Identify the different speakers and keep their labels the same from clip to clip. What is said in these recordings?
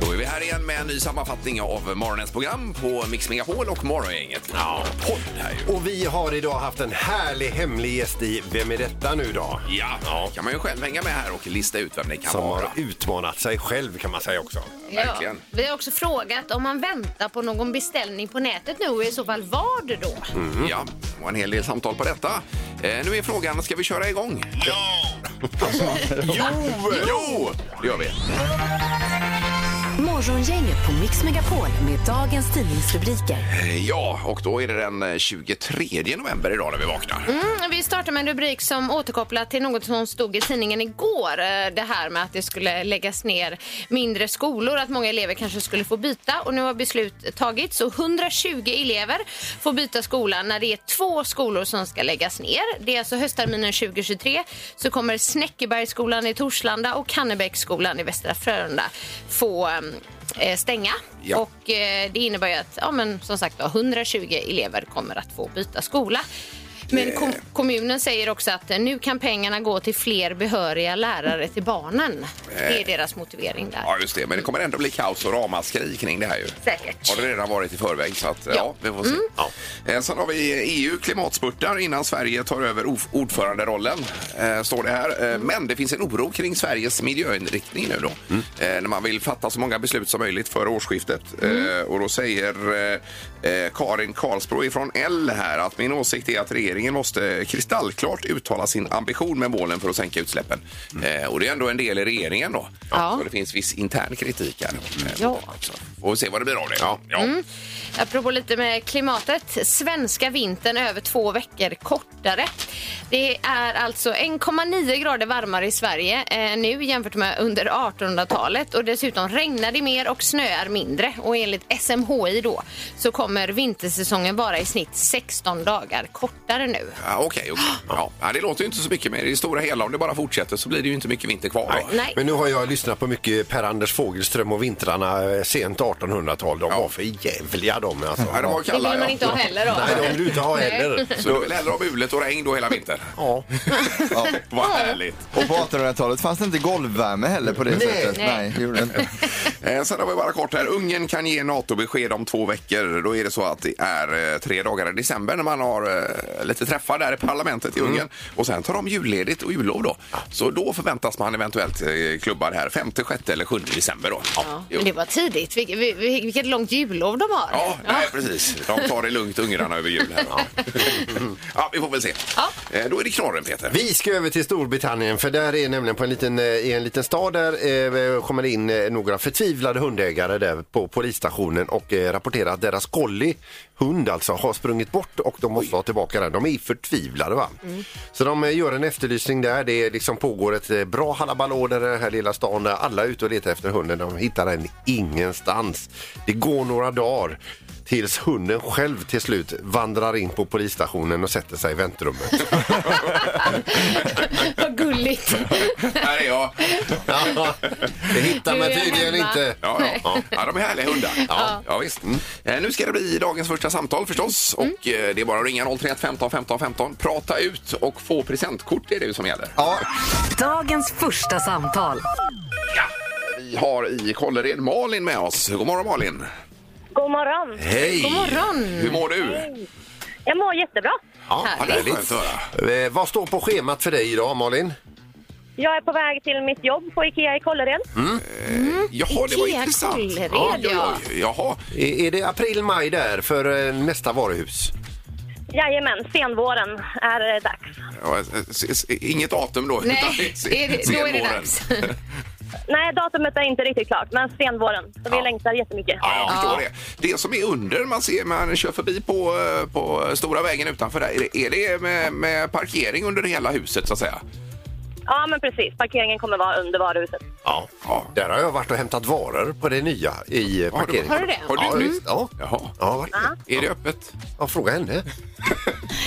Speaker 1: Då är vi här igen med en ny sammanfattning av morgonens program på Mix Megapol och Morgongänget. Ja, podd här ju.
Speaker 2: Och vi har idag haft en härlig hemlig gäst i Vem är detta nu då?
Speaker 1: Ja, kan man ju själv hänga med här och lista ut vem det kan
Speaker 2: Som
Speaker 1: vara.
Speaker 2: har utmanat sig själv kan man säga också.
Speaker 1: Verkligen.
Speaker 3: Ja. Vi har också frågat om man väntar på någon beställning på nätet nu och i så fall vad då?
Speaker 1: Ja, och en hel del samtal på detta. Eh, nu är frågan, ska vi köra igång? Ja! jo! Jo! Det gör vi.
Speaker 4: Morgongänget på Mix Megapol med dagens tidningsrubriker.
Speaker 1: Eh, Ja, och då är det den eh, 23 november idag när vi vaknar.
Speaker 3: Mm, vi startar med en rubrik som återkopplar till något som stod i tidningen igår. Eh, Det här med att det skulle läggas ner mindre skolor, att många elever kanske skulle få byta. Och nu har beslut tagits så 120 elever får byta skola när det är två skolor som ska läggas ner. Det är alltså höstterminen 2023 så kommer Snäckebergsskolan i Torslanda och Kannebäcksskolan i Västra Frölunda få eh, stänga.
Speaker 1: Ja.
Speaker 3: Och och eh, det innebär ju att ja, men, som sagt, då, 120 elever kommer att få byta skola. Men kom kommunen säger också att eh, nu kan pengarna gå till fler behöriga lärare till barnen. Det är deras motivering där.
Speaker 1: Ja, just det. Men det kommer ändå bli kaos och ramaskri kring det här ju.
Speaker 3: Säkert.
Speaker 1: Har det redan varit i förväg så att eh, ja,
Speaker 3: Ja.
Speaker 1: vi får se. Ja. Eh, Sen har vi EU klimatspurtar innan Sverige tar över of- ordföranderollen, eh, står det här. Eh, Men det finns en oro kring Sveriges miljöinriktning nu då.
Speaker 3: Mm.
Speaker 1: Eh, När man vill fatta så många beslut som möjligt före årsskiftet.
Speaker 3: Mm.
Speaker 1: Eh, Och då säger eh, eh, Karin Karlsbro ifrån L här att min åsikt är att regeringen måste kristallklart uttala sin ambition med målen för att sänka utsläppen. Eh, Och det är ändå en del i regeringen då.
Speaker 3: Mm. Ja.
Speaker 1: Så det finns viss intern kritik här. eh,
Speaker 3: Ja.
Speaker 1: också. Får vi se vad det blir av det. Ja.
Speaker 3: Apropå lite med klimatet. Svenska vintern är över två veckor kortare. Det är alltså 1,9 grader varmare i Sverige eh, nu jämfört med under 1800-talet och dessutom regnar det mer och snöar mindre. Och enligt SMHI då så kommer vintersäsongen vara i snitt 16 dagar kortare nu.
Speaker 1: Ja, okej, okej. Ja. Ja, det låter ju inte så mycket mer. I det stora hela, om det bara fortsätter så blir det ju inte mycket vinter kvar. då.
Speaker 3: Nej.
Speaker 2: Men nu har jag lyssnat på mycket Per-Anders Fågelström och vintrarna eh, sent 1800-tal. De var för jävliga de alltså.
Speaker 1: Nej, de var
Speaker 3: Det vill
Speaker 1: kalla,
Speaker 3: man
Speaker 1: ja.
Speaker 3: inte ha heller då.
Speaker 2: Nej, de vill du inte ha heller.
Speaker 1: Så du vill hellre ha mulet och regn då hela vintern?
Speaker 2: Ja.
Speaker 5: Ja.
Speaker 1: Vad härligt.
Speaker 5: Och på 1800-talet fanns det inte golvvärme heller på det
Speaker 2: Nej.
Speaker 5: sättet.
Speaker 3: Nej.
Speaker 5: Nej, det gjorde det inte.
Speaker 1: Eh, sen har vi bara kort här. Ungern kan ge NATO-besked om två veckor. Då är det så att det är eh, tre dagar i december när man har eh, lite träffar där i parlamentet i
Speaker 3: Mm.
Speaker 1: Ungern. Och sen tar de julledigt och jullov då. Så då förväntas man eventuellt eh, klubba det här 5, 6 eller 7 december då.
Speaker 3: Ja,
Speaker 1: Jo.
Speaker 3: men det var tidigt. Vilket, vil- vilket långt jullov de har.
Speaker 1: Ja, nej, precis. De tar det lugnt, ungrarna, över jul. Här. Ja. vi får väl se.
Speaker 3: Ja.
Speaker 1: Eh, Då är det knorren, Peter.
Speaker 2: Vi ska över till Storbritannien för där är nämligen på en liten, eh, i en liten stad där eh, kommer in eh, några förtvivlade hundägare där på polisstationen och eh, rapporterar att deras collie, hund alltså, har sprungit bort och de måste ha tillbaka den. De är förtvivlade va. Så de eh, gör en efterlysning där. Det är liksom pågår ett eh, bra halabalå där i den här lilla stan där alla är ute och letar efter hunden. De hittar den ingenstans. Det går några dagar tills hunden själv till slut vandrar in på polisstationen och sätter sig i väntrummet.
Speaker 3: Vad gulligt.
Speaker 1: Här är jag.
Speaker 2: Ja, det hittar man
Speaker 3: Du är
Speaker 2: tydligen
Speaker 3: hemma.
Speaker 2: inte.
Speaker 1: Ja, ja, ja. ja, de är härliga hundar. Ja, ja, visst. Eh, Nu ska det bli dagens första samtal förstås. Och eh, Det är bara att ringa 031 15 15 15. Prata ut och få presentkort, det är det som gäller.
Speaker 5: Ja,
Speaker 4: Dagens första samtal.
Speaker 1: Vi har i Kållered Malin med oss. God morgon, Malin.
Speaker 6: God morgon.
Speaker 2: Hej!
Speaker 3: God morgon.
Speaker 1: Hur mår du?
Speaker 6: Jag mår jättebra.
Speaker 2: Ja,
Speaker 1: Härligt. Skönt att
Speaker 2: Eh, vad står på schemat för dig idag, Malin?
Speaker 6: Jag är på väg till mitt jobb på Ikea i Kållered.
Speaker 1: Mm. Jaha, det var
Speaker 3: Ikea
Speaker 1: intressant.
Speaker 3: Kållered,
Speaker 1: Oj, oj,
Speaker 3: ja.
Speaker 1: oj. Jaha.
Speaker 2: Är, är det april-maj där för eh, nästa varuhus?
Speaker 6: Jajamän, senvåren är det dags.
Speaker 1: Ja, eh, s- s- Inget datum då.
Speaker 3: Nej,
Speaker 1: utan
Speaker 3: är det- då är det
Speaker 1: senvåren.
Speaker 3: dags.
Speaker 6: Nej, datumet är inte riktigt klart, men senvåren. Så vi längtar jättemycket.
Speaker 1: Ja, jag förstår det. Det som är under man ser man kör förbi på, eh, på stora vägen utanför där, är det, är det med, med parkering under hela huset så att säga?
Speaker 6: Ja, men precis. Parkeringen kommer vara under varuhuset.
Speaker 2: Ja. Där har jag varit och hämtat varor på det nya i eh,
Speaker 1: Har du-
Speaker 2: parkeringen.
Speaker 3: Har du det?
Speaker 1: Har du
Speaker 2: Ja,
Speaker 1: det?
Speaker 2: visst. Ja. Ja,
Speaker 1: Jaha.
Speaker 2: jag har varit det.
Speaker 1: Är det öppet?
Speaker 2: Ja, fråga henne.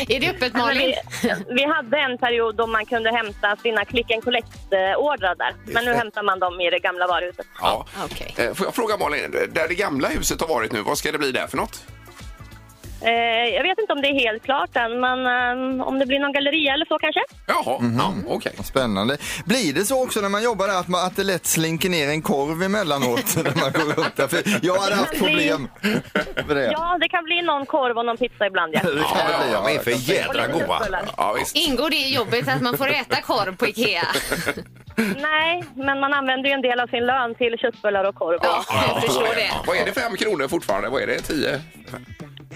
Speaker 3: Är det öppet
Speaker 6: Men
Speaker 3: Malin?
Speaker 6: vi, vi hade en period då man kunde hämta sina click and collect-ordrar där. Men nu
Speaker 1: det.
Speaker 6: hämtar man dem i det gamla varuhuset.
Speaker 1: Ja.
Speaker 3: Okej.
Speaker 1: Eh, Får jag fråga Malin, där det gamla huset har varit nu, vad ska det bli där för något?
Speaker 6: Eh, jag vet inte om det är helt klart än, men eh, om det blir någon galleria eller så kanske?
Speaker 1: Jaha,
Speaker 5: Mhm.
Speaker 1: ja, okej.
Speaker 5: Spännande. Blir det så också när man jobbar där att, man, att det lätt slinker ner en korv emellanåt när man går upp där? För jag hade haft problem med det.
Speaker 6: Ja, det kan bli någon korv och någon pizza ibland, ja.
Speaker 5: Det kan det
Speaker 1: Ja, ja,
Speaker 5: bli, ja.
Speaker 2: De är för jädra
Speaker 6: Och lite
Speaker 2: goa.
Speaker 6: bullar.
Speaker 1: Ja, visst.
Speaker 3: Ingår det i jobbet att man får äta korv på Ikea?
Speaker 6: Nej, men man använder ju en del av sin lön till köttbullar och korv.
Speaker 3: Ja, jag förstår det.
Speaker 1: Vad är det, fem kronor fortfarande? Vad är det, tio?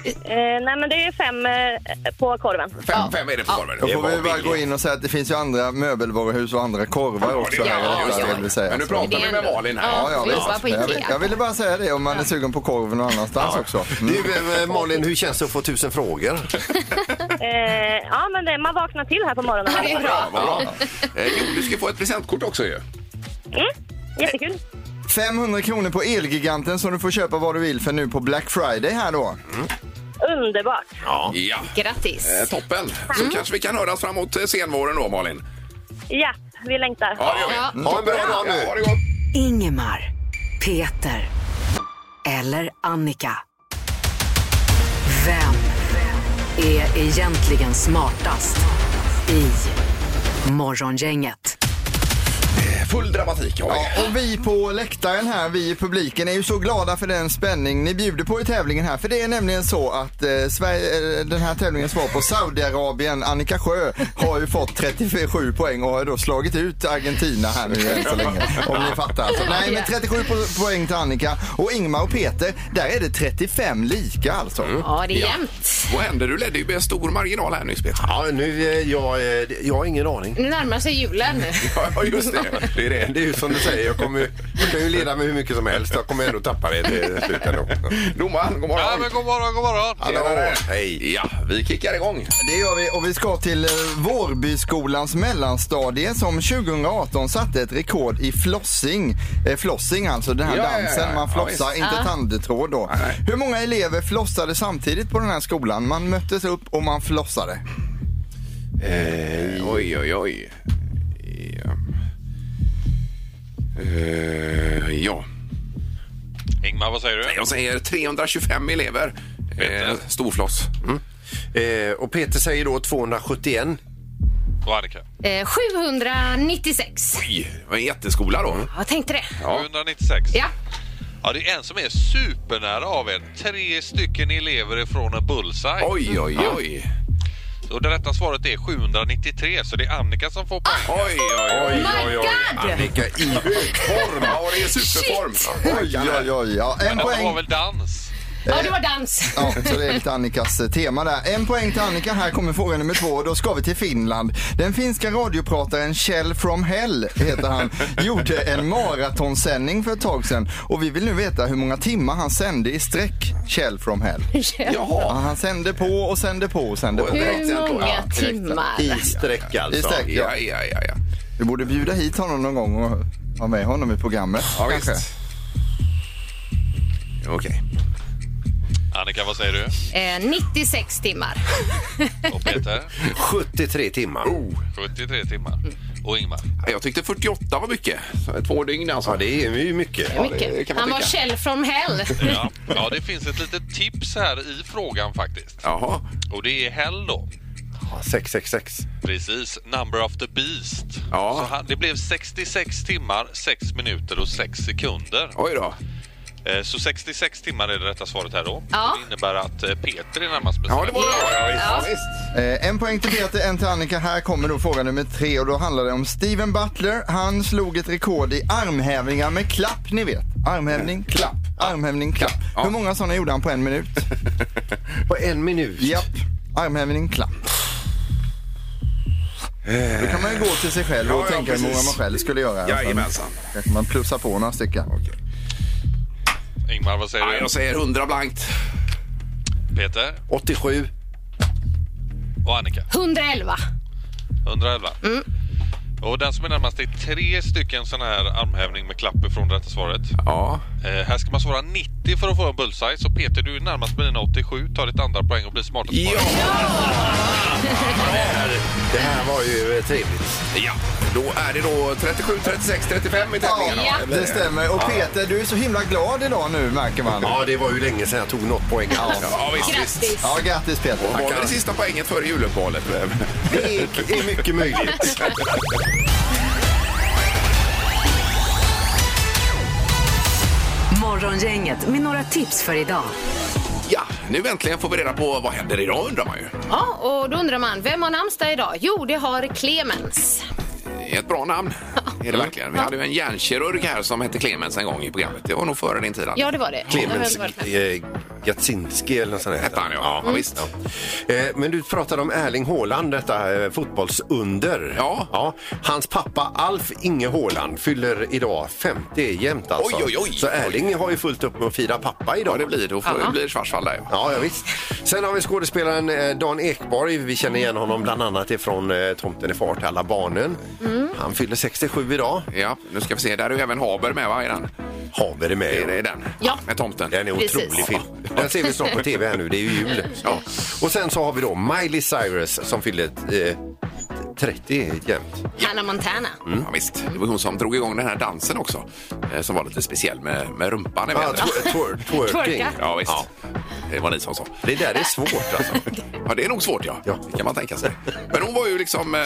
Speaker 6: Eh, nej, men det är fem eh, på korven.
Speaker 1: Fem, fem är det på korven?
Speaker 5: Då
Speaker 2: Det
Speaker 5: får
Speaker 2: var
Speaker 5: vi bara gå
Speaker 2: billigt.
Speaker 5: in och säga att det finns ju andra möbelvaruhus och andra korvar också. här,
Speaker 3: ja,
Speaker 5: just det,
Speaker 3: ja.
Speaker 5: jag vill säga.
Speaker 1: Men nu pratar vi med Malin här.
Speaker 5: Ja, ja,
Speaker 3: Vi jobbar
Speaker 5: visst.
Speaker 3: på
Speaker 5: Men Jag,
Speaker 3: Ikea.
Speaker 5: vill- jag ville bara säga det om man är sugen på korven någon annanstans också. Mm.
Speaker 2: Du, eh, Malin, hur känns det att få tusen frågor?
Speaker 6: Eh, ja, men det, man vaknar till här på morgonen.
Speaker 3: Det är bra.
Speaker 1: Ja, vad bra. Eh, Jo, du ska få ett presentkort också ju.
Speaker 6: Mm, jättekul.
Speaker 5: 500 Mm. kronor på Elgiganten som du får köpa vad du vill för nu på Black Friday här då.
Speaker 6: Underbart.
Speaker 1: Ja.
Speaker 3: Grattis.
Speaker 1: Eh, Toppen! Så kanske vi kan höras framåt eh, senvåren då, Malin.
Speaker 6: Ja, vi längtar.
Speaker 1: Ja, det gör vi.
Speaker 3: Ja.
Speaker 2: Ha en bra dag
Speaker 1: Ja,
Speaker 2: nu!
Speaker 1: ha det gott!
Speaker 4: Ingemar, Peter eller Annika. Vem är egentligen smartast i Morgongänget?
Speaker 1: Full dramatik har vi.
Speaker 5: Ja, och vi på läktaren här, vi i publiken, är ju så glada för den spänning ni bjuder på i tävlingen här. För det är nämligen så att eh, Sverige, eh, den här tävlingen svar på Saudiarabien, Annika Sjö, har ju fått 37 poäng och har då slagit ut Argentina här nu än så länge. Om ni fattar alltså. Nej, men 37 po- poäng till Annika. Och Ingmar och Peter, där är det 35 lika alltså.
Speaker 3: Ja, det är jämnt.
Speaker 1: Vad hände? Du ledde ju med en stor marginal här nyss, Peter.
Speaker 2: Ja, nu, eh, jag, eh, jag har ingen aning.
Speaker 3: Nu närmar sig julen.
Speaker 1: Ja, just det. Det är det.
Speaker 2: Det är ju som du säger, jag, kommer, ju- jag kan ju leda med hur mycket som helst. Jag kommer ändå tappa det till slut ändå.
Speaker 1: Domaren, god morgon!
Speaker 7: Ja, men god morgon, god morgon.
Speaker 1: Hallå!
Speaker 2: Tjenare.
Speaker 1: Hej! Ja, vi kickar igång.
Speaker 5: Det gör vi och vi ska till eh, Vårbyskolans mellanstadie som 2018 satte ett rekord i flossing. Eh, flossing alltså den här
Speaker 1: Ja, ja, ja,
Speaker 5: dansen
Speaker 1: ja.
Speaker 5: man
Speaker 1: Ja,
Speaker 5: flossar,
Speaker 1: visst.
Speaker 5: inte tandtråd då.
Speaker 1: Nej, nej.
Speaker 5: Hur många elever flossade samtidigt på den här skolan? Man möttes upp och man flossade.
Speaker 1: Oj, oj, oj. Ja. Eh, ja.
Speaker 7: Ingmar, vad säger du?
Speaker 1: Jag säger 325 elever. Eh, storfloss.
Speaker 2: Eh, och Peter säger då 271.
Speaker 7: Och Annika?
Speaker 3: Eh, 796.
Speaker 1: Oj, det var en jätteskola då.
Speaker 3: Jag tänkte det.
Speaker 1: Ja.
Speaker 7: 796.
Speaker 3: Ja,
Speaker 7: Ja, det är en som är supernära av er. Tre stycken elever ifrån en bullseye.
Speaker 1: Oj, oj, oj.
Speaker 7: Och det rätta svaret är 793, så det är Annika som får poäng.
Speaker 1: Oj, oj, oj.
Speaker 3: my god!
Speaker 2: Annika i
Speaker 1: Form! Ja, det är superform.
Speaker 5: Oj, oj, oj. Ja, en
Speaker 7: Men det var
Speaker 5: poäng.
Speaker 7: väl dans?
Speaker 3: Ja, det var dans.
Speaker 5: Ja, så det är lite Annikas eh, tema där. En poäng till Annika. Här kommer fråga nummer två. Då ska vi till Finland. Den finska radioprataren Kjell from Hell heter han. Gjorde en maratonsändning för ett tag sedan. Och vi vill nu veta hur många timmar han sände i sträck, Kjell from Hell. Ja,
Speaker 1: Jaha.
Speaker 5: han sände på och sände på och sände på.
Speaker 3: Hur många
Speaker 1: direkt.
Speaker 3: timmar?
Speaker 2: sträck
Speaker 5: I
Speaker 2: alltså.
Speaker 5: sträck, ja.
Speaker 1: Ja, ja, ja. ja.
Speaker 5: Vi borde bjuda hit honom någon gång och ha med honom i programmet.
Speaker 1: ja
Speaker 5: kanske.
Speaker 1: visst. Okej.
Speaker 7: Annika, vad säger du?
Speaker 3: Eh, 96 timmar.
Speaker 7: Och Peter?
Speaker 2: 73 timmar.
Speaker 7: 73 timmar. Och Ingmar?
Speaker 1: Oh. Jag tyckte 48 var mycket. Så Två dygn alltså.
Speaker 2: Ja, det är ju mycket.
Speaker 3: Det är mycket.
Speaker 1: kan man
Speaker 3: Han var
Speaker 1: tycka.
Speaker 3: Kjell from hell.
Speaker 7: Ja. ja, det finns ett litet tips här i frågan faktiskt.
Speaker 1: Jaha.
Speaker 7: Och det är Hell då.
Speaker 2: Ja, 666.
Speaker 7: Precis, Number of the Beast.
Speaker 1: Ja.
Speaker 7: Så han, det blev 66 timmar, 6 minuter och 6 sekunder.
Speaker 1: Oj då.
Speaker 7: Eh, Så 66 timmar är det rätta svaret här då.
Speaker 3: Ja.
Speaker 7: Det innebär att eh, Peter är närmast
Speaker 1: Ja,
Speaker 7: bestämd.
Speaker 1: det var det. Ja, visst.
Speaker 5: Eh, en poäng till Peter, en till Annika. Här kommer då fråga nummer tre och då handlar det om Steven Butler. Han slog ett rekord i armhävningar med klapp, ni vet. Armhävning, klapp, armhävning, klapp.
Speaker 1: Ja.
Speaker 5: Hur många sådana gjorde han på en minut?
Speaker 2: På en minut.
Speaker 5: Japp, armhävning, klapp. Då kan man ju gå till sig själv och
Speaker 1: Ja, ja,
Speaker 5: tänka hur många man
Speaker 1: precis.
Speaker 5: själv skulle göra.
Speaker 1: Jajamensan.
Speaker 5: Kanske man plussar på några stycken.
Speaker 7: Ingmar, vad säger
Speaker 1: Ja, jag
Speaker 7: du?
Speaker 1: säger 100 blankt.
Speaker 7: Peter
Speaker 2: 87.
Speaker 7: och Annika.
Speaker 3: 111.
Speaker 7: 111. Och den som är närmast är tre stycken sån här armhävning med klapp ifrån det rätta svaret.
Speaker 1: Ja.
Speaker 7: Eh, här ska man svara 90 för att få en bullseye, så Peter du är närmast med dina 87, tar ditt andra poäng och blir smartast på
Speaker 1: Ja!
Speaker 7: det.
Speaker 2: Det här var ju eh, trevligt.
Speaker 1: ja! Då är det då 37, 36, 35 i tävlingen.
Speaker 3: Ja.
Speaker 1: eller?
Speaker 5: Det stämmer. Och Peter, du är så himla glad idag nu märker man.
Speaker 2: Ja, det var ju länge sedan jag tog något poäng. alls.
Speaker 1: Ja, visst, visst.
Speaker 3: Grattis!
Speaker 5: Ja, grattis Peter.
Speaker 1: Var det det sista poänget före juluppehållet?
Speaker 2: Det är är mycket möjligt.
Speaker 4: Morgongänget med några tips för idag.
Speaker 1: Ja, nu äntligen får vi reda på vad händer idag undrar man ju.
Speaker 3: Ja, och då undrar man, vem har namnsdag idag? Jo, det har Clemens.
Speaker 1: Ett bra namn är det verkligen. Vi hade ju en hjärnkirurg här som hette Clemens en gång i programmet. Det var nog före din tid. Anna.
Speaker 3: Ja, det var det. Jag har
Speaker 2: Clemens
Speaker 3: inte varit med.
Speaker 2: eh, Gatsinski eller något sånt där.
Speaker 1: Hette han, ja. Ja,
Speaker 3: Mm.
Speaker 1: visst.
Speaker 2: Eh, Men du pratade om Erling Haaland, detta eh, fotbollsunder.
Speaker 1: Ja.
Speaker 2: Hans pappa Alf Inge Haaland fyller idag 50 jämt alltså.
Speaker 1: Oj, oj, oj.
Speaker 2: Så Erling har ju fullt upp med att fira pappa idag.
Speaker 1: Ja, det blir då får, det blir Schwarzwald där. ja.
Speaker 2: Ja, ja, visst. Sen har vi skådespelaren eh, Dan Ekborg. Vi känner igen honom bland annat ifrån eh, Tomten är far till alla barnen.
Speaker 3: Mm.
Speaker 2: Han fyller 67 idag.
Speaker 1: Ja, nu ska vi se. Där är ju även Haber med va, i den?
Speaker 2: Haber är med.
Speaker 1: Är det den?
Speaker 3: Ja.
Speaker 1: Med tomten?
Speaker 2: Den är
Speaker 3: Precis.
Speaker 2: otrolig film. Den ser vi snart på tv här nu. Det är ju jul. Ja. Och sen så har vi då Miley Cyrus som fyller eh, 30 jämt.
Speaker 3: Hannah Montana.
Speaker 1: Ja, visst. Det var hon som drog igång den här dansen också. eh, Som var lite speciell med, med rumpan. i
Speaker 2: Ah,
Speaker 1: vädret.
Speaker 2: twer- twer- twerking.
Speaker 3: Twerka.
Speaker 1: ja, visst. Det var ni som sa.
Speaker 2: Det där är svårt alltså.
Speaker 1: Ja, det är nog svårt ja.
Speaker 2: Ja.
Speaker 1: Det kan man tänka sig. Men hon var ju liksom eh,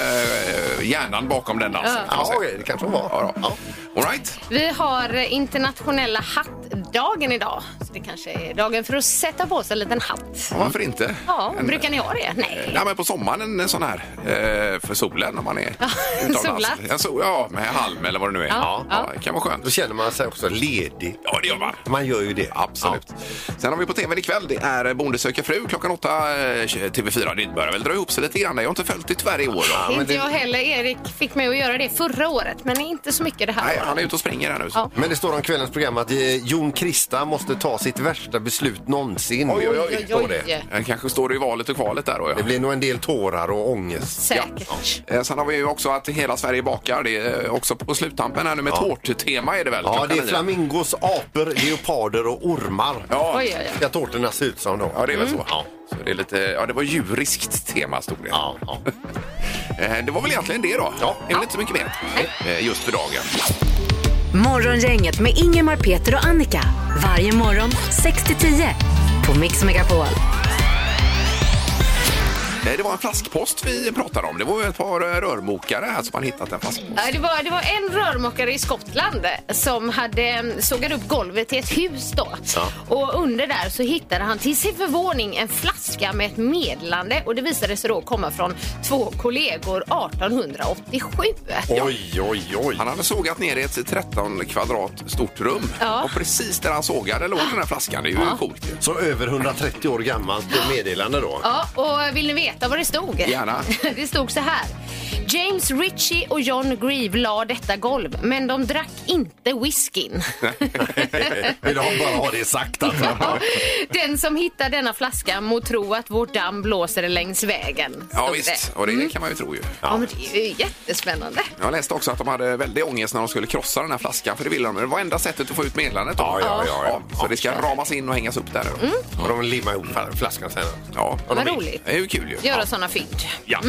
Speaker 1: hjärnan bakom den dansen. kan man
Speaker 2: Ja,
Speaker 1: säga.
Speaker 2: okej, det kanske hon var.
Speaker 1: Ja, då.
Speaker 2: Ja.
Speaker 1: All right.
Speaker 3: Vi har internationella hattdagen idag. Så det kanske är dagen för att sätta på sig en liten hatt.
Speaker 1: Ja, varför inte?
Speaker 3: Ja,
Speaker 1: En-
Speaker 3: brukar ni ha det?
Speaker 1: Eh,
Speaker 3: Nej.
Speaker 1: Nej, men på sommaren en sån här eh, för solen när man är utomlands.
Speaker 3: solat.
Speaker 1: En sol, ja, med halm eller vad det nu är.
Speaker 3: Ja,
Speaker 1: ja.
Speaker 3: ja.
Speaker 1: det kan vara skönt.
Speaker 2: Då känner man sig också ledig.
Speaker 1: Ja, det gör man.
Speaker 2: Man gör ju det.
Speaker 1: Absolut. Sen har vi på tv ikväll, det är eh, Bonde söker fru klockan åtta, eh, TV4. Det börjar väl dra ihop sig lite grann. Jag har inte följt det tyvärr i år. Då.
Speaker 3: inte jag heller. Erik fick mig att göra det förra året, men inte så mycket det här
Speaker 1: Nej,
Speaker 3: året.
Speaker 1: han är ute och springer här nu.
Speaker 3: Ja.
Speaker 2: Men det står om kvällens program att eh, Jon Krista måste ta sitt värsta beslut någonsin.
Speaker 1: Oj, oj,
Speaker 3: Oj,
Speaker 1: oj.
Speaker 3: oj,
Speaker 2: Står det.
Speaker 1: Eh, Kanske står det i valet och kvalet där då. Ja.
Speaker 2: Det blir nog en del tårar och ångest.
Speaker 3: Säkert.
Speaker 1: Eh, Sen har vi ju också att hela Sverige bakar. Det är eh, också på sluttampen här nu med tårttema är det väl?
Speaker 2: Ja,
Speaker 1: klockan
Speaker 2: det är
Speaker 1: nio.
Speaker 2: flamingos, apor, leoparder och ormar.
Speaker 1: Ja.
Speaker 3: Oj, oj, oj.
Speaker 2: Ska tårtorna se ut som då?
Speaker 1: Ja, det är väl så. så det, är lite, ja, det var djuriskt tema, stod det.
Speaker 2: Ja, ja.
Speaker 1: Eh, Det var väl egentligen det då.
Speaker 2: Ja.
Speaker 1: Det är väl inte så mycket mer eh, just för dagen.
Speaker 4: Morgongänget med Ingemar, Peter och Annika. Varje morgon 6 till 10 på Mix Megapol.
Speaker 1: Eh, Det var en flaskpost vi pratade om. Det var ju ett par eh, rörmokare här som man hittat en flaskpost.
Speaker 3: Ja, Det var, det var en rörmokare i Skottland som hade eh, sågat upp golvet till ett hus då. Och under där så hittade han till sin förvåning en flaska med ett meddelande och det visade sig då komma från två kollegor 1887.
Speaker 2: Oj, oj, oj.
Speaker 1: Han hade sågat ner i ett 13 kvadrat stort rum.
Speaker 3: Ja.
Speaker 1: Och precis där han sågade låg den här flaskan. Det är ju coolt. ju.
Speaker 2: Så över 130 år gammalt meddelande då.
Speaker 3: Ja, och vill ni veta vad det stod?
Speaker 1: Gärna.
Speaker 3: Det stod så här. James Ritchie och John Grieve la detta golv, men de drack inte whiskyn.
Speaker 2: Vill ha bara ha det sagt alltså.
Speaker 3: Den som hittar denna flaska må tro att vårt damm blåser längs vägen.
Speaker 1: Ja,
Speaker 3: stod
Speaker 1: visst.
Speaker 3: det. Mm.
Speaker 1: Och det kan man ju tro ju.
Speaker 3: Ja, men det är ju jättespännande.
Speaker 1: Jag läste också att de hade väldigt ångest när de skulle krossa den här flaskan. För det ville de. Det var enda sättet att få ut meddelandet. då.
Speaker 2: Ja, ja, ja, ja.
Speaker 1: Så det ska ramas in och hängas upp där nu.
Speaker 2: Och de limmar ihop flaskan sen.
Speaker 1: Ja.
Speaker 2: Om de
Speaker 3: Mm. Vad
Speaker 2: vill.
Speaker 3: roligt. Mm.
Speaker 1: Det är ju kul ju.
Speaker 3: Göra såna fynd.
Speaker 1: Ja.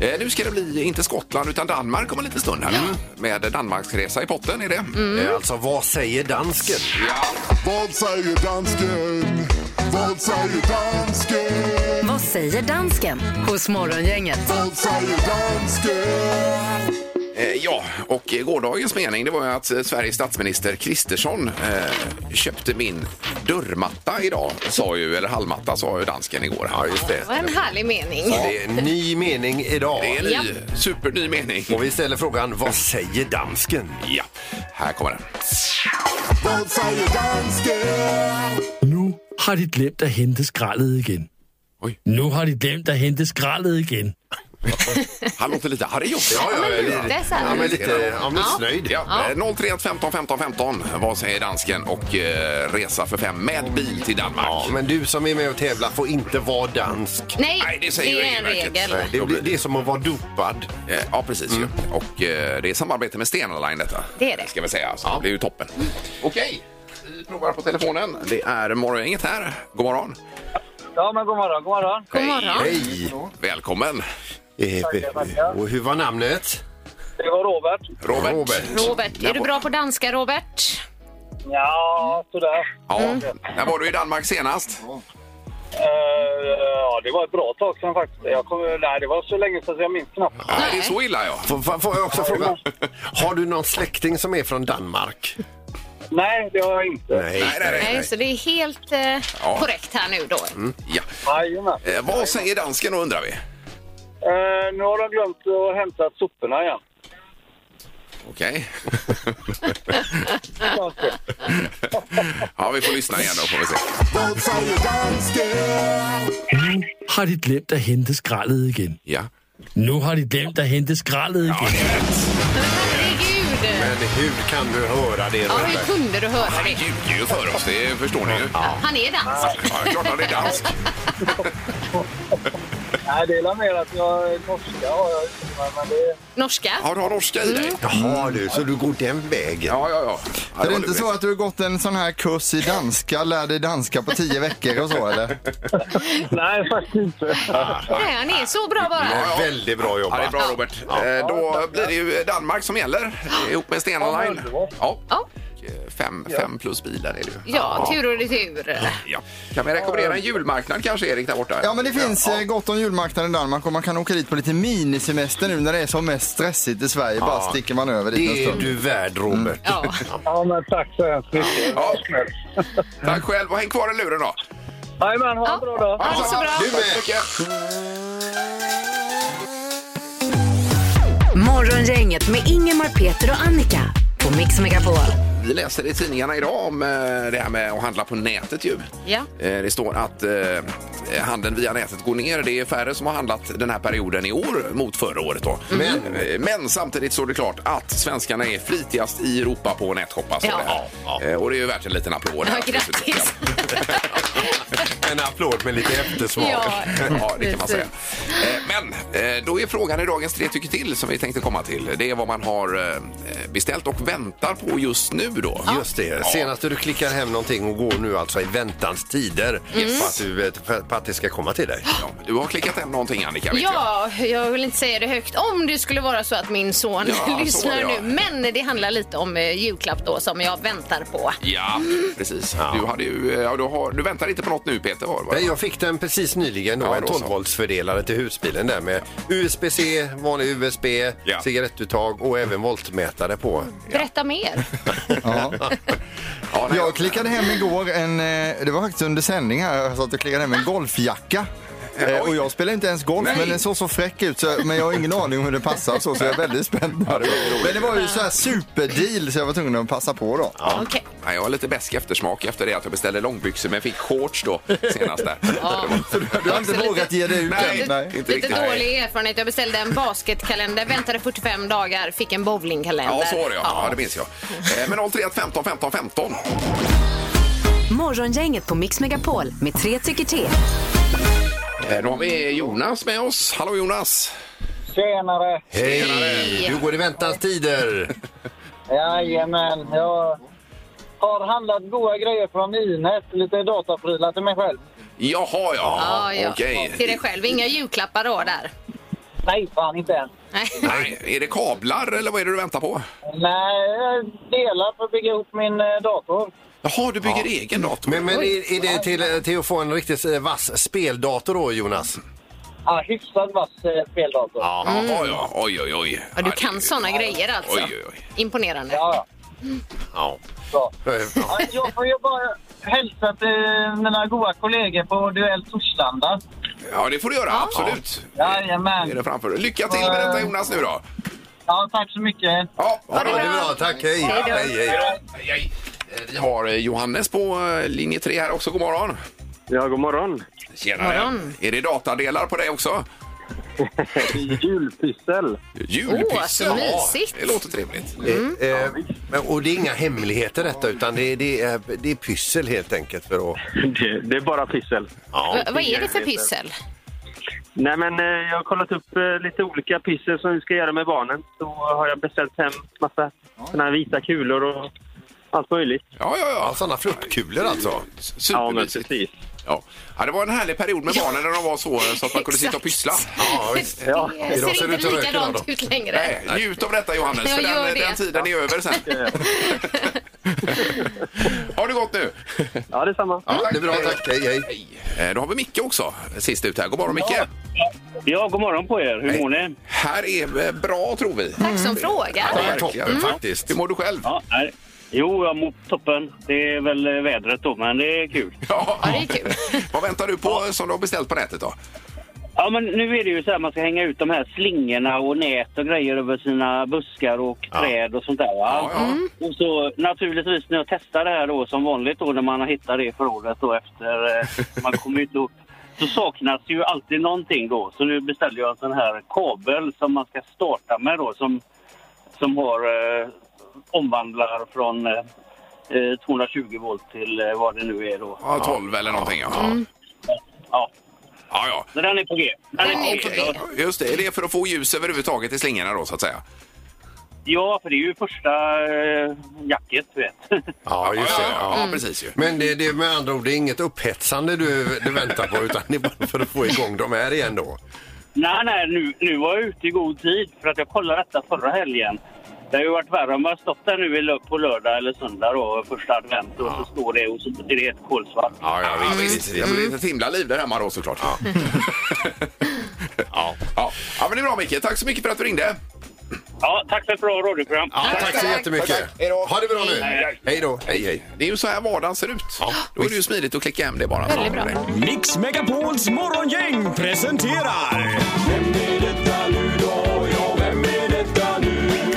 Speaker 1: Eh, Nu ska det bli, inte Skottland, utan Danmark om en liten stund. Här. Med Danmarks resa i potten är det.
Speaker 3: Mm.
Speaker 2: Eh, Alltså, vad säger dansken?
Speaker 8: Vad säger dansken? Vad säger dansken?
Speaker 4: Vad säger dansken hos Morgongänget?
Speaker 8: Vad säger dansken?
Speaker 1: Eh, Ja, och eh, gårdagens mening det var ju att eh, Sveriges statsminister Kristersson eh, köpte min dörrmatta idag, sa ju, eller hallmatta sa ju dansken igår. Ja, just det.
Speaker 3: Vad en härlig mening.
Speaker 2: Det är en ny mening idag.
Speaker 1: Det är en ny,
Speaker 3: Ja.
Speaker 1: superny mening.
Speaker 2: Och vi ställer frågan, vad säger dansken?
Speaker 1: Ja, här kommer den.
Speaker 8: Vad säger dansken?
Speaker 9: Nu har de glemt at hente skraldet igen.
Speaker 1: Oj.
Speaker 9: Nu har de glemt at hente skraldet igen.
Speaker 1: Han låter lite arg också.
Speaker 2: Ja, ja,
Speaker 3: men
Speaker 2: ja,
Speaker 3: lite så här.
Speaker 2: ja, men lite ja, missnöjd.
Speaker 1: Ja, eh, 031 15 15 15. Vad säger dansken? Och eh, resa för fem med bil till Danmark.
Speaker 2: Ja, men du som är med och tävlar får inte vara dansk.
Speaker 3: Nej,
Speaker 1: Nej, det säger
Speaker 3: är en
Speaker 1: regelverket.
Speaker 3: regel.
Speaker 2: Nej, det, det är som att vara dopad.
Speaker 1: Eh, Ja, precis. Ju. Och eh, det är samarbete med Stena Line detta.
Speaker 3: Det är det.
Speaker 1: Ska vi säga. Så Det är ju toppen. Okej, vi provar på telefonen. Det är morgongänget här. God morgon.
Speaker 10: Ja, men god morgon, god morgon.
Speaker 3: God morgon.
Speaker 2: Hej!
Speaker 1: Välkommen,
Speaker 2: Eh, Och hur var namnet?
Speaker 10: Det var Robert.
Speaker 1: Robert.
Speaker 3: Robert, är du bra på danska, Robert?
Speaker 10: Ja, sådär.
Speaker 1: Ja. När var du i Danmark senast?
Speaker 10: Eh, ja, det var ett bra tag sedan faktiskt. Jag kommer, nej, det var så länge sedan så jag minns knappt.
Speaker 1: Nej, det är så illa, ja.
Speaker 2: Får, får får jag också fråga, har du någon släkting som är från Danmark?
Speaker 10: Nej, det har jag inte.
Speaker 1: Nej, nej, nej. Mm.
Speaker 3: Nej, så det är helt eh, korrekt här nu då.
Speaker 1: Ja.
Speaker 10: Jajamän.
Speaker 1: Eh, vad säger dansken då, undrar vi?
Speaker 10: Eh, nu har de glömt att hämta soporna igen.
Speaker 1: Okej. ja, vi får lyssna igen då, får vi se.
Speaker 8: Vad säger dansken?
Speaker 11: Har de glemt att hämta skrallet igen?
Speaker 1: Ja.
Speaker 11: Nu har de glemt att hämta skrallet igen.
Speaker 1: Ja, det är rätt.
Speaker 3: Herregud!
Speaker 2: Men hur kan du höra det?
Speaker 3: Ja,
Speaker 2: Robert?
Speaker 3: hur kunde du höra
Speaker 1: Han
Speaker 3: det?
Speaker 1: ljuger ju för oss, det förstår ni ju. Ja,
Speaker 3: Han är dansk.
Speaker 1: klart han är dansk.
Speaker 10: Nej, det är mer att jag är norska har jag inte, men- men det...
Speaker 3: Norska.
Speaker 1: Har du har norska i dig?
Speaker 2: Jaha du, så du går den vägen?
Speaker 1: Ja, ja, ja. ja
Speaker 5: Är det
Speaker 1: var
Speaker 5: inte
Speaker 1: lurigt.
Speaker 5: så att du har gått en sån här kurs i danska, lär dig danska på tio veckor och så eller?
Speaker 10: Nej, faktiskt inte.
Speaker 3: Nej, han är så bra bara.
Speaker 2: Men Väldigt bra
Speaker 1: Ja, det är
Speaker 2: jobbat.
Speaker 1: bra, Robert. Eh, Då blir det ju Danmark som gäller eh, ihop med Stena Line. Ja.
Speaker 3: Ja,
Speaker 1: Eh, Fem, fem plus bilar är det ju.
Speaker 3: ja tur och retur.
Speaker 1: Ja. Kan vi rekommendera en julmarknad kanske, Erik, där borta?
Speaker 5: Ja men det finns eh, gott om julmarknader i Danmark och man kan åka dit på lite minisemester nu när det är som mest stressigt i Sverige. Bara sticker man över dit en
Speaker 2: Det är
Speaker 5: stund.
Speaker 2: du värd Robert.
Speaker 3: Ja.
Speaker 10: Ja, men tack så hemskt mycket.
Speaker 1: Ja. Tack själv och häng kvar i luren då.
Speaker 10: Jajamän, ha en bra dag.
Speaker 3: Ha det så bra.
Speaker 1: Du med. Tack så mycket.
Speaker 4: Morgongänget med Ingemar, Peter och Annika på Mix Megapol.
Speaker 1: Vi läser i tidningarna idag om eh, det här med att handla på nätet ju.
Speaker 3: Ja.
Speaker 1: Eh, Det står att eh, handeln via nätet går ner. Det är färre som har handlat den här perioden i år mot förra året. Då.
Speaker 3: Mm.
Speaker 1: Men, eh, men samtidigt står det klart att svenskarna är flitigast i Europa på att nätshoppa. står
Speaker 3: Ja.
Speaker 1: det här. Eh, Och det är ju värt en liten applåd. här.
Speaker 3: Ja, grattis.
Speaker 2: En applåd med lite eftersmak.
Speaker 3: Ja.
Speaker 1: Ja, det kan man säga. Eh, Men eh, då är frågan i dagens tre tycker till som vi tänkte komma till. Det är vad man har eh, beställt och väntar på just nu då.
Speaker 2: Just det. Senast du klickar hem någonting och går nu alltså i väntans tider på, att du, vet- för- på att det ska komma till dig.
Speaker 1: Mm. Ja, Du har klickat hem någonting Annika, vet jag.
Speaker 3: Ja, jag vill inte säga det högt om det skulle vara så att min son
Speaker 1: Ja, så
Speaker 3: lyssnar
Speaker 1: var det, ja.
Speaker 3: nu. Men det handlar lite om eh, julklapp då som jag väntar på.
Speaker 1: Ja, precis. Du, hade ju, eh, ja, du, har, du väntar inte på något nu Peter? Var, var?
Speaker 2: Nej, jag fick den precis nyligen då,
Speaker 1: Ja,
Speaker 2: en
Speaker 1: då så.
Speaker 2: 12 volts fördelare till husbilen där med USB-C, vanlig USB,
Speaker 1: Ja.
Speaker 2: cigarettuttag och även voltmätare på.
Speaker 3: Berätta mer.
Speaker 5: Ja.
Speaker 1: Ja, nej,
Speaker 5: Jag klickade hem igår en, eh, det var faktiskt under sändning här, jag satt och klickade hem en golfjacka. Eh, Och jag spelar inte ens golf,
Speaker 1: Nej.
Speaker 5: men den såg så fräck ut. Så, men jag har ingen aning om hur den passar så, så jag är väldigt spänd. på det. Men det var ju så här superdeal så jag var tvungen att passa på då.
Speaker 3: Okej.
Speaker 1: nej, jag har lite besk eftersmak efter det att jag beställde långbyxor men fick shorts då senast där. Det var-
Speaker 5: Du har inte vågat ge dig ut
Speaker 1: Nej.
Speaker 5: än. Nej.
Speaker 1: Inte
Speaker 3: Lite
Speaker 1: riktigt.
Speaker 3: dålig erfarenhet. Jag beställde en basketkalender, väntade 45 dagar, fick en bowlingkalender.
Speaker 1: Ja, så var det ja. ja. det minns jag. Eh, Men 031 15 15 15.
Speaker 4: Morgongänget på Mix Megapol med tre tycker till.
Speaker 1: Eh, Då har vi Jonas med oss. Hallå Jonas!
Speaker 10: Tjenare!
Speaker 2: Hej! Du går i väntans tider.
Speaker 10: Jajamän, jag har handlat goda grejer från Inet. Lite dataprylar till mig själv.
Speaker 1: Jaha ja,
Speaker 3: Ja, ja.
Speaker 1: okej.
Speaker 3: Till dig själv. Inga julklappar då där.
Speaker 10: Nej, fan inte än.
Speaker 3: Nej.
Speaker 1: Nej, är det kablar eller vad är det du väntar på?
Speaker 10: Nej, jag delar för att bygga ihop min eh, dator.
Speaker 1: Jaha, du bygger egen dator.
Speaker 2: Men, men är, är det till, till att få en riktigt eh, vass speldator då, Jonas?
Speaker 10: Ja, hyfsat vass eh, speldator. Ja.
Speaker 1: Jaha, ja. Oj, oj, oj.
Speaker 3: Mm. Ja, du
Speaker 1: det-
Speaker 3: kan såna grejer alltså.
Speaker 1: Oj, oj, oj.
Speaker 3: Imponerande.
Speaker 10: Ja,
Speaker 2: Ja.
Speaker 10: bra.
Speaker 2: Eh,
Speaker 10: Ja, jag får ju bara hälsa till mina goda kollegor på Duell Torslanda.
Speaker 1: Ja, det får du göra. Absolut. Är det
Speaker 10: Jajamän.
Speaker 1: framför. Lycka till med detta Jonas nu då.
Speaker 10: Ja, tack så mycket.
Speaker 1: Ja, ha
Speaker 2: Ja, det är bra. Tack, hej. hej, hej.
Speaker 1: Hej, hej. Eh, Vi har eh, Johannes på eh, linje 3 här också. God morgon.
Speaker 11: Ja, god morgon.
Speaker 1: Tjenare.
Speaker 3: Morgon.
Speaker 1: Är det datadelar på dig också?
Speaker 10: Julpyssel.
Speaker 3: Åh,
Speaker 1: Julpyssel!
Speaker 3: så mysigt.
Speaker 1: det låter trevligt.
Speaker 2: Eh, eh, men- och det är inga hemligheter detta utan det, det, är, det är pyssel helt enkelt. För att,
Speaker 10: Det, det är bara pyssel.
Speaker 3: Va- vad är det för pyssel?
Speaker 10: Nej, men eh, jag har kollat upp eh, lite olika pyssel som vi ska göra med barnen. Så har jag beställt hem massa såna här vita kulor och allt möjligt.
Speaker 1: Ja, ja, ja.
Speaker 2: ja, sådana fruktkulor alltså.
Speaker 10: Ja, men
Speaker 1: Supermysigt.
Speaker 10: precis.
Speaker 1: Ja. Ja, det var en härlig period med barnen när de var så, eh, så att man kunde sitta och
Speaker 3: Exakt.
Speaker 1: pyssla.
Speaker 2: Ja, visst.
Speaker 3: Det
Speaker 2: Idag ser
Speaker 3: ser
Speaker 2: det ut
Speaker 3: inte
Speaker 2: att röka
Speaker 3: likadant
Speaker 2: idag
Speaker 3: ut längre.
Speaker 1: Nej, njut av detta Johannes,
Speaker 3: Jag
Speaker 1: för
Speaker 3: gör
Speaker 1: den,
Speaker 3: det.
Speaker 1: den tiden är över sen. Har du gått nu?
Speaker 10: Ja, detsamma.
Speaker 2: Ja, det är bra, tack. Hej, hej.
Speaker 1: Hej. Eh, Då har vi Micke också, sist ut här. God morgon Micke!
Speaker 10: Ja, god morgon på er. Hur
Speaker 1: mår
Speaker 10: ni?
Speaker 1: Här är eh, bra tror vi.
Speaker 3: Tack som frågar.
Speaker 2: Det är toppen
Speaker 1: Mm.
Speaker 2: faktiskt.
Speaker 1: Hur mår du själv?
Speaker 10: Ja, nej. Jo, jag mår toppen. Det är väl eh, vädret då, men det är kul.
Speaker 1: Ja.
Speaker 3: det är kul.
Speaker 1: Vad väntar du på eh, som du har beställt på nätet då?
Speaker 10: Ja, men nu är det ju så här man ska hänga ut de här slingorna och nät och grejer över sina buskar och träd och sånt där. Va?
Speaker 1: Ja, ja. Mm.
Speaker 10: Och så naturligtvis när jag testar det här då som vanligt då när man har hittat det i förrådet då efter eh, man kommer ut upp så saknas ju alltid någonting då. Så nu beställde jag en sån här kabel som man ska starta med då som, som har eh, omvandlar från eh, eh, 220 volt till eh, vad det nu är då.
Speaker 1: Ja, 12 eller någonting ja.
Speaker 3: Mm.
Speaker 10: Ja,
Speaker 1: Ja, ja.
Speaker 10: så den är på G. Den
Speaker 3: Den är på
Speaker 10: G.
Speaker 3: G.
Speaker 10: Ja.
Speaker 1: Just det, är det för att få ljus överhuvudtaget i slingorna då så att säga?
Speaker 10: Ja, för det är ju första eh, jacket, du vet.
Speaker 2: Ja, just det.
Speaker 1: ja, mm.
Speaker 2: Ja.
Speaker 1: ja precis ju.
Speaker 2: Men det, det är med andra ord det är inget upphetsande du, du väntar på utan det är bara för att få igång de här igen då.
Speaker 10: nej, nej, nu, nu var jag ute i god tid för att jag kollade detta förra helgen. Det har ju varit värre om man stått där nu i lö- på lördag eller söndag då, första advent och så står det och så är det helt kolsvart.
Speaker 2: Ja, ja,
Speaker 1: Ja,
Speaker 2: visst. Mm.
Speaker 1: visst. Det blir ett himla liv där hemma då såklart. Ja. ja. ja. men det är bra Micke. Tack så mycket för att du ringde.
Speaker 10: Ja, tack för ett bra radioprogram.
Speaker 2: Ja, tack så jättemycket.
Speaker 1: Tack, tack. Hej då.
Speaker 2: Ha det bra nu.
Speaker 10: Hej.
Speaker 2: Hej då. Hej, hej.
Speaker 1: Det är ju så här vardagen ser ut. Då är det ju smidigt att klicka hem det bara.
Speaker 3: Väldigt bra.
Speaker 8: Mix Megapols morgongäng presenterar... Vem är detta nu då? Ja, vem är detta nu? Vem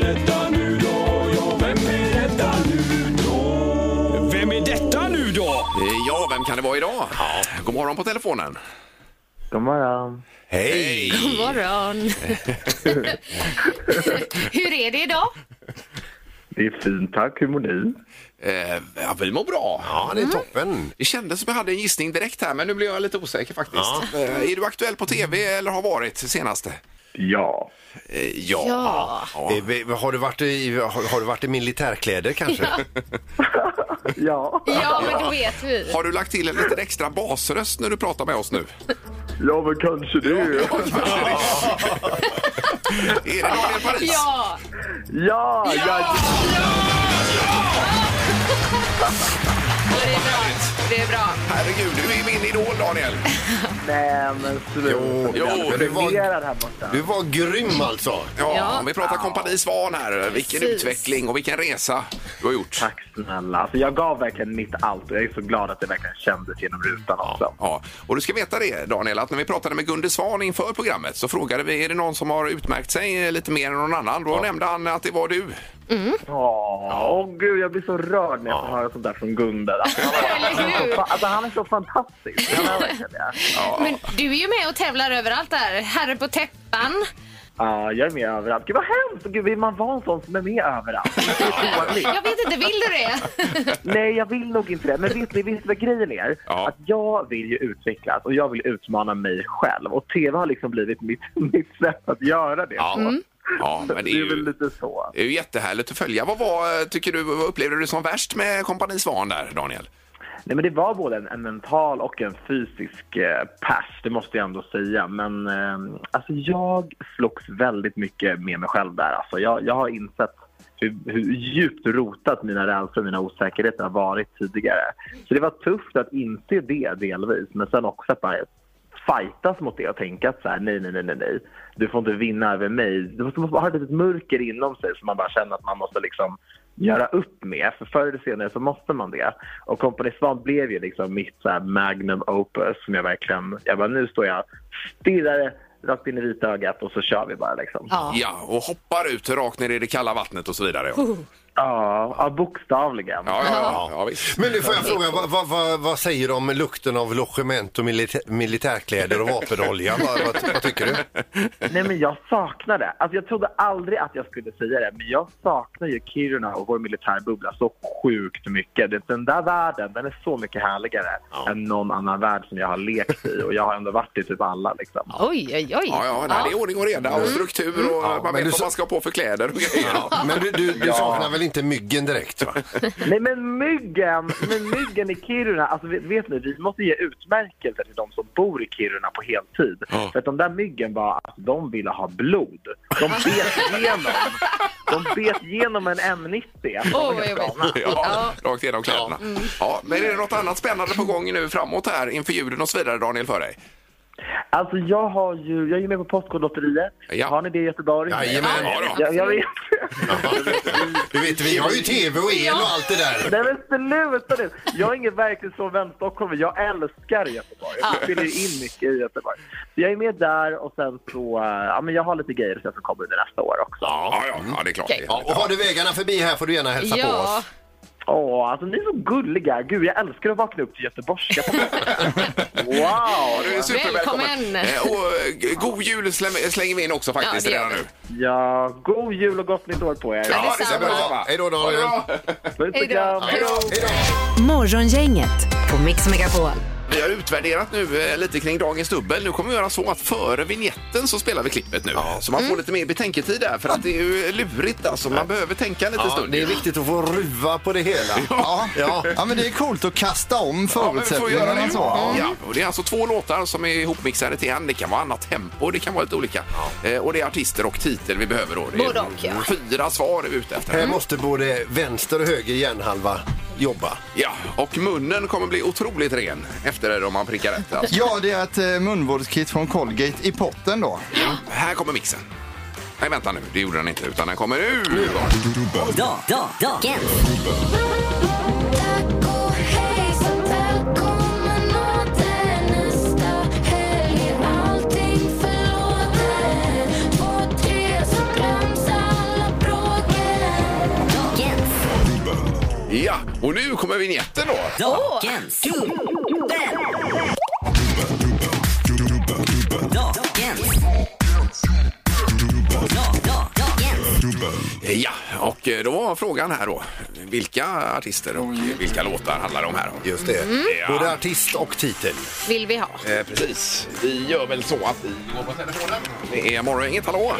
Speaker 8: är detta nu då? Ja, vem är detta nu då? Vem är detta nu då?
Speaker 1: Eh, Ja, vem kan det vara idag? God morgon på telefonen.
Speaker 10: God morgon.
Speaker 2: Hej.
Speaker 3: God morgon. Hur är det idag?
Speaker 10: Det är fint, tack. Hur mår ni?
Speaker 1: Eh, ja, vi mår bra.
Speaker 2: Ja, det är toppen.
Speaker 1: Det kändes som jag hade en gissning direkt här, men nu blev jag lite osäker faktiskt. Eh, är du aktuell på tv eller har varit senaste?
Speaker 10: Ja.
Speaker 1: Eh, ja.
Speaker 3: Ja.
Speaker 2: Eh, vi- Har du varit i, har, har du varit i militärkläder kanske?
Speaker 10: Ja.
Speaker 3: Ja, men då vet vi.
Speaker 1: Har du lagt till en liten extra basröst när du pratar med oss nu?
Speaker 10: Ja, men kanske det.
Speaker 1: Är det Daniel Paris?
Speaker 3: Ja,
Speaker 10: Ja, ja.
Speaker 3: det är bra. Det är bra.
Speaker 1: Herregud, du är min idol Daniel.
Speaker 10: Nej, men
Speaker 2: Jo, men du, var,
Speaker 10: här borta.
Speaker 2: du var grym alltså.
Speaker 1: Ja,
Speaker 3: Ja.
Speaker 1: Om vi pratar kompani Svan här. Vilken
Speaker 3: Precis.
Speaker 1: utveckling och vilken resa du har gjort.
Speaker 10: Tack snälla. Alltså, jag gav verkligen mitt allt och jag är så glad att det verkligen kändes genom rutan också.
Speaker 1: Ja, och du ska veta det Daniel, att när vi pratade med Gunde Svan inför programmet så frågade vi är det någon som har utmärkt sig lite mer än någon annan. Då nämnde han att det var du.
Speaker 10: Åh, åh, gud, jag blir så rörd när jag får höra sånt där från Gunde. Alltså,
Speaker 3: Eller hur?
Speaker 10: alltså, han är så fantastisk. Han är verkligen det.
Speaker 3: Men du är ju med och tävlar överallt där. Herre på täppan.
Speaker 10: Ja, jag är med överallt. Gud, vad hemskt! Gud, vill man vara en sån som är med överallt? Det är så dåligt.
Speaker 3: Jag vet inte, vill du det?
Speaker 10: Nej, jag vill nog inte det. Men vet ni, vet ni vad grejen är?
Speaker 1: Ja.
Speaker 10: Att jag vill ju utvecklas och jag vill utmana mig själv. Och tv har liksom blivit mitt, mitt sätt att göra det.
Speaker 1: Ja, ja
Speaker 10: Så
Speaker 1: men det är
Speaker 10: det är väl
Speaker 1: ju,
Speaker 10: lite så.
Speaker 1: det är ju jättehärligt att följa. Vad var, tycker du, vad upplevde du som värst med kompani Svan där Daniel?
Speaker 10: Nej, men det var både en, en mental och en fysisk eh, pers, det måste jag ändå säga. Men eh, alltså, jag slogs väldigt mycket med mig själv där. Alltså, jag, jag har insett hur, hur djupt rotat mina rädslor och mina osäkerheter har varit tidigare. Så det var tufft att inse det delvis, men sen också att bara fightas mot det och tänka att så här, nej, nej, nej, nej, nej, du får inte vinna över mig. Du måste, måste ha ett litet mörker inom sig som man bara känner att man måste liksom göra upp med. För förr eller senare så måste man det. Och Company Svan blev ju liksom mitt så här magnum opus som jag verkligen, jag bara nu står jag stirrar rakt in i vitögat och så kör vi bara liksom.
Speaker 3: Ja.
Speaker 1: Ja, och hoppar ut rakt ner i det kalla vattnet och så vidare. Ja.
Speaker 10: Ja, ja bokstavligen.
Speaker 1: Ja, ja, ja, ja visst.
Speaker 2: Men nu får jag fråga, vad, vad, vad, vad säger du om lukten av logement och militä- militärkläder och vapenolja? vad, vad, vad tycker du?
Speaker 10: Nej, men jag saknar det. Alltså, jag trodde aldrig att jag skulle säga det, men jag saknar ju Kiruna och vår militärbubbla så sjukt mycket. Det- Den där världen, den är så mycket härligare än någon annan värld som jag har lekt i och jag har ändå varit i typ alla liksom.
Speaker 3: Oj, oj, oj.
Speaker 1: Ja, ja, nej, det är ordning och reda och struktur
Speaker 10: Mm.
Speaker 1: och man
Speaker 2: men
Speaker 1: vet
Speaker 2: du
Speaker 1: vad
Speaker 2: sa-
Speaker 1: man ska ha på för kläder och grejer.
Speaker 2: Men du, du, du saknar väl inte myggen direkt? Va?
Speaker 10: Nej men myggen, men myggen i Kiruna, alltså vet, vet ni, vi måste ge utmärkelser till de som bor i Kiruna på heltid. För att de där myggen var, alltså, de ville ha blod. De bet igenom, de bet igenom en M90. Alltså,
Speaker 3: Åh, vad jobbigt.
Speaker 1: Ja, rakt igenom kläderna.
Speaker 3: Mm.
Speaker 1: Ja, men är det något annat spännande på gång nu framåt här inför julen och så vidare, Daniel, för dig?
Speaker 10: Alltså jag har ju, jag är ju med på Postkodlotteriet.
Speaker 1: Ja.
Speaker 10: Har ni det i Göteborg?
Speaker 2: Jajamän.
Speaker 1: Ja,
Speaker 10: Jag, jag vet.
Speaker 2: Du vet, vi har ju tv och el och allt det där.
Speaker 10: Nej men sluta nu! Jag är ingen verklighetsfrånvänd stockholmare, jag älskar Göteborg. Jag spelar ju in mycket i Göteborg. Så jag är med där och sen så, eh, ja men jag har lite grejer som kommer under nästa år också.
Speaker 1: Ja, ja, ja, det är klart.
Speaker 3: Okej.
Speaker 2: Ja, och har du vägarna förbi här får du gärna hälsa på
Speaker 3: Ja,
Speaker 2: oss.
Speaker 10: Åh, alltså ni är så gulliga! Gud, jag älskar att vakna upp till göteborgska på morgonen.
Speaker 1: Ja, du är
Speaker 10: Wow!
Speaker 1: supervälkommen.
Speaker 3: Välkommen.
Speaker 1: Eh, Och eh, g- god jul slä- slänger vi in också faktiskt
Speaker 3: Ja, det gör
Speaker 1: redan nu.
Speaker 10: Ja, god jul och gott nytt år på er!
Speaker 3: Ja, detsamma.
Speaker 1: detsamma, detsamma.
Speaker 2: Hej då, Daniel.
Speaker 1: Ha det bra.
Speaker 10: Puss och
Speaker 3: Hej då.
Speaker 10: kram!
Speaker 3: Hej då.
Speaker 4: Morgongänget på Mix Megapol.
Speaker 1: Vi har utvärderat nu eh, lite kring dagens dubbel. Nu kommer vi göra så att före vignetten så spelar vi klippet nu. Så man får
Speaker 3: Mm.
Speaker 1: lite mer betänketid där för att det är ju lurigt alltså. Man behöver tänka lite
Speaker 2: Ja,
Speaker 1: stund.
Speaker 2: det är viktigt att få ruva på det hela.
Speaker 5: Ja. Ja. men det är coolt att kasta om
Speaker 1: Ja, men vi får göra
Speaker 5: förutsättningarna. alltså.
Speaker 1: det.
Speaker 5: så.
Speaker 1: Ja. och det är alltså två låtar som är ihopmixade till en. Det kan vara annat tempo, det kan vara lite olika. Eh, och det är artister och titel vi behöver då. Det är
Speaker 3: Både och, ja.
Speaker 1: Fyra svar är vi ute efter.
Speaker 2: Här måste både vänster och höger hjärnhalva jobba.
Speaker 1: Ja, och munnen kommer bli otroligt ren efter det om man prickar rätt. Alltså.
Speaker 5: Ja, det är ett eh, munvårdskit från Colgate i potten då.
Speaker 1: Här kommer mixen. Nej, vänta nu. Det gjorde den inte, utan den kommer nu. Ja, och nu kommer vignetten då. Ja, och eh, då var frågan här då. Vilka artister och vilka låtar handlar det om här? då?
Speaker 2: Just det.
Speaker 3: Mm.
Speaker 2: Både artist och titel.
Speaker 3: vill vi ha.
Speaker 1: Eh, precis. Vi gör väl så att vi går på telefonen. Det är Morgongänget, hallå!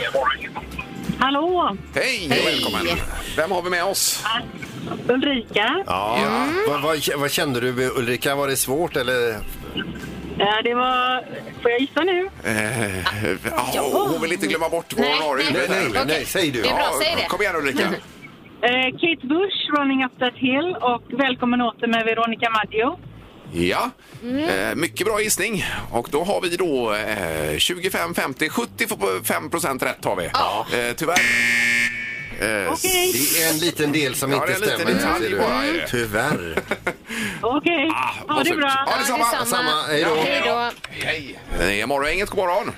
Speaker 6: Hallå!
Speaker 1: Hej och välkommen! Vem har vi med oss?
Speaker 6: Ulrika.
Speaker 2: Ja.
Speaker 3: Mm.
Speaker 2: Vad, vad, vad kände du Ulrika? Var det svårt eller?
Speaker 6: Eh, Det var... Får jag gissa nu?
Speaker 1: Eh, ja, hon vill inte glömma bort vad
Speaker 3: Nej,
Speaker 1: hon har i
Speaker 3: nej,
Speaker 2: Nej,
Speaker 1: huvudet.
Speaker 2: nej,
Speaker 1: här.
Speaker 2: nej, säg du.
Speaker 3: Det är bra,
Speaker 1: Ja,
Speaker 3: säg det.
Speaker 1: Kom igen Ulrika!
Speaker 6: Eh, Kate Bush, Running Up That Hill och Välkommen åter med Veronica Maggio.
Speaker 1: Ja, eh, mycket bra gissning. Och då har vi då eh, 25, 50, 75 procent rätt har vi. Eh, tyvärr. Eh,
Speaker 6: Okej,
Speaker 2: Det är en liten del som
Speaker 1: Ja,
Speaker 2: inte
Speaker 1: det är en liten detalj
Speaker 2: stämmer. ser du.
Speaker 1: bara, är det.
Speaker 2: Tyvärr.
Speaker 6: okej.
Speaker 10: Ah,
Speaker 1: vad
Speaker 6: Ha det
Speaker 1: surt.
Speaker 6: bra.
Speaker 1: Ja, detsamma.
Speaker 3: Ja, detsamma.
Speaker 2: Samma, hej då.
Speaker 3: Hej då.
Speaker 1: Hej! Det är Morgongänget, god morgon!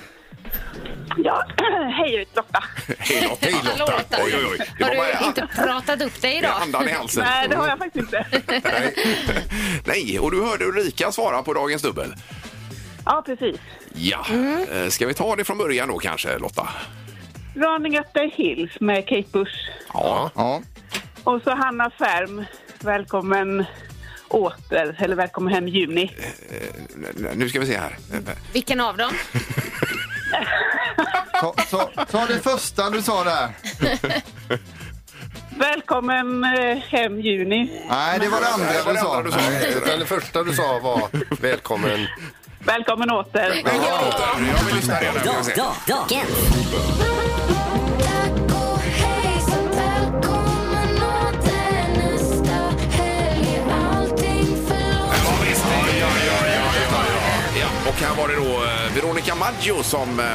Speaker 6: Ja. Hej ut Lotta.
Speaker 1: Hej Lotta!
Speaker 2: Hej Lotta.
Speaker 3: Lotta.
Speaker 1: Oj, oj, oj. Det
Speaker 3: Har
Speaker 1: var bara
Speaker 3: du inte pratat upp dig
Speaker 1: med
Speaker 3: idag?
Speaker 1: andan i halsen.
Speaker 6: Nej, det har jag faktiskt inte.
Speaker 1: Nej, och du hörde Ulrika svara på dagens dubbel.
Speaker 6: Ja, precis.
Speaker 1: Ja, Eh, ska vi ta det från början då kanske Lotta?
Speaker 6: Running Up That Hills med Kate Bush.
Speaker 1: Ja.
Speaker 5: Ja.
Speaker 6: Och så Hanna Färm, Välkommen åter, eller Välkommen hem juni.
Speaker 1: N- Nu ska vi se här. Eh,
Speaker 3: Vilken av dem?
Speaker 5: Ta, ta, ta det första du sa där.
Speaker 6: Välkommen eh, hem juni.
Speaker 5: Nej, det var det
Speaker 1: Det var
Speaker 5: andra
Speaker 1: det
Speaker 5: du
Speaker 1: andra
Speaker 5: sa.
Speaker 1: du sa.
Speaker 2: Utan det första du sa var välkommen.
Speaker 6: Välkommen åter.
Speaker 1: Lotta, Jag vill lyssna redan. Ska vi se. Ja, visst. Ja, ja, ja, ja, ja, ja. Ja, och här var det då eh, Veronica Maggio som eh,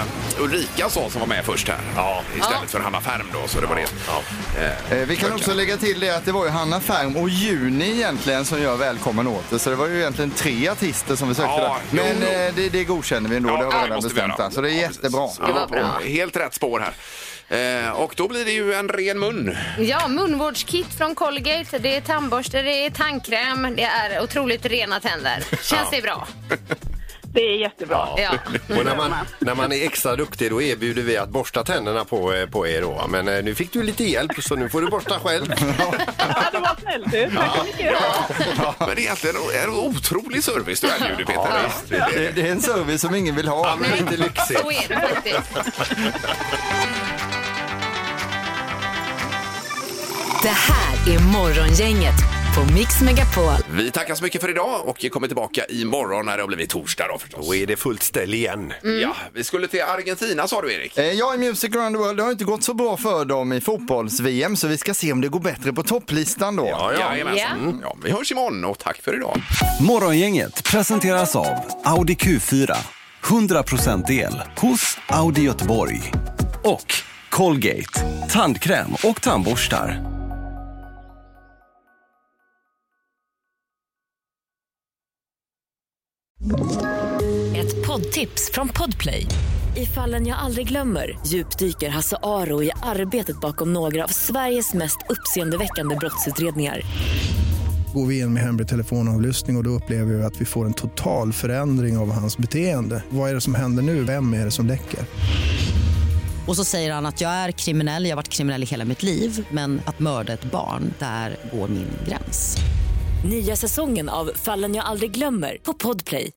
Speaker 1: Ulrika sa som var med först här. Ja. Istället för Hanna Färm då, så det var det. Eh,
Speaker 5: Eh, Vi kan också lägga till det att det var ju Hanna Färm och Juni egentligen som gör Välkommen åter. Så det var ju egentligen tre artister som vi sökte
Speaker 1: Ja,
Speaker 5: där.
Speaker 1: jo,
Speaker 5: Men
Speaker 1: jo.
Speaker 5: eh, det, det godkänner vi ändå, det har vi redan
Speaker 1: måste vi
Speaker 5: bestämt
Speaker 1: göra.
Speaker 5: där. Så det är
Speaker 1: Ja,
Speaker 5: jättebra.
Speaker 1: precis. Ja, Helt rätt spår här. Eh, och då blir det ju en ren mun.
Speaker 3: Ja, munvårdskit från Colgate, det är tandborste, det är tandkräm, det är otroligt rena tänder. Känns det bra?
Speaker 6: Det är jättebra.
Speaker 3: Ja.
Speaker 2: Och när man, när man är extra duktig då erbjuder vi att borsta tänderna på, eh, på er då. Men eh, nu fick du lite hjälp så nu får du borsta själv.
Speaker 6: Ja, det var snällt du. Tack så mycket.
Speaker 1: Men det är egentligen en otrolig service du erbjuder, Peter.
Speaker 5: Det, det är en service som ingen vill ha.
Speaker 2: men lite lyxigt.
Speaker 3: Så är det faktiskt.
Speaker 4: Det här är Morgongänget på Mix Megapol.
Speaker 1: Vi tackar så mycket för idag och kommer tillbaka imorgon när det har blivit torsdag då förstås.
Speaker 2: Då är det fullt ställ igen.
Speaker 1: Ja, vi skulle till Argentina sa du Erik.
Speaker 5: Eh, Ja, i Music Around the World det har inte gått så bra för dem i fotbolls-VM så vi ska se om det går bättre på topplistan då.
Speaker 1: Jajamensan. Mm. ja, vi hörs imorgon och tack för idag.
Speaker 8: Morgongänget presenteras av Audi Q4. 100% el hos Audi Göteborg. Och Colgate, tandkräm och tandborstar.
Speaker 9: Ett poddtips från Podplay. I fallen jag aldrig glömmer djupdyker Hasse Aro i arbetet bakom några av Sveriges mest uppseendeväckande brottsutredningar.
Speaker 12: Går vi in med hemlig telefonavlyssning och, och då upplever vi att vi får en total förändring av hans beteende. Vad är det som händer nu? Vem är det som läcker?
Speaker 9: Och så säger han att jag är kriminell, jag har varit kriminell i hela mitt liv men att mörda ett barn, där går min gräns.
Speaker 4: Nya säsongen av Fallen jag aldrig glömmer på Podplay.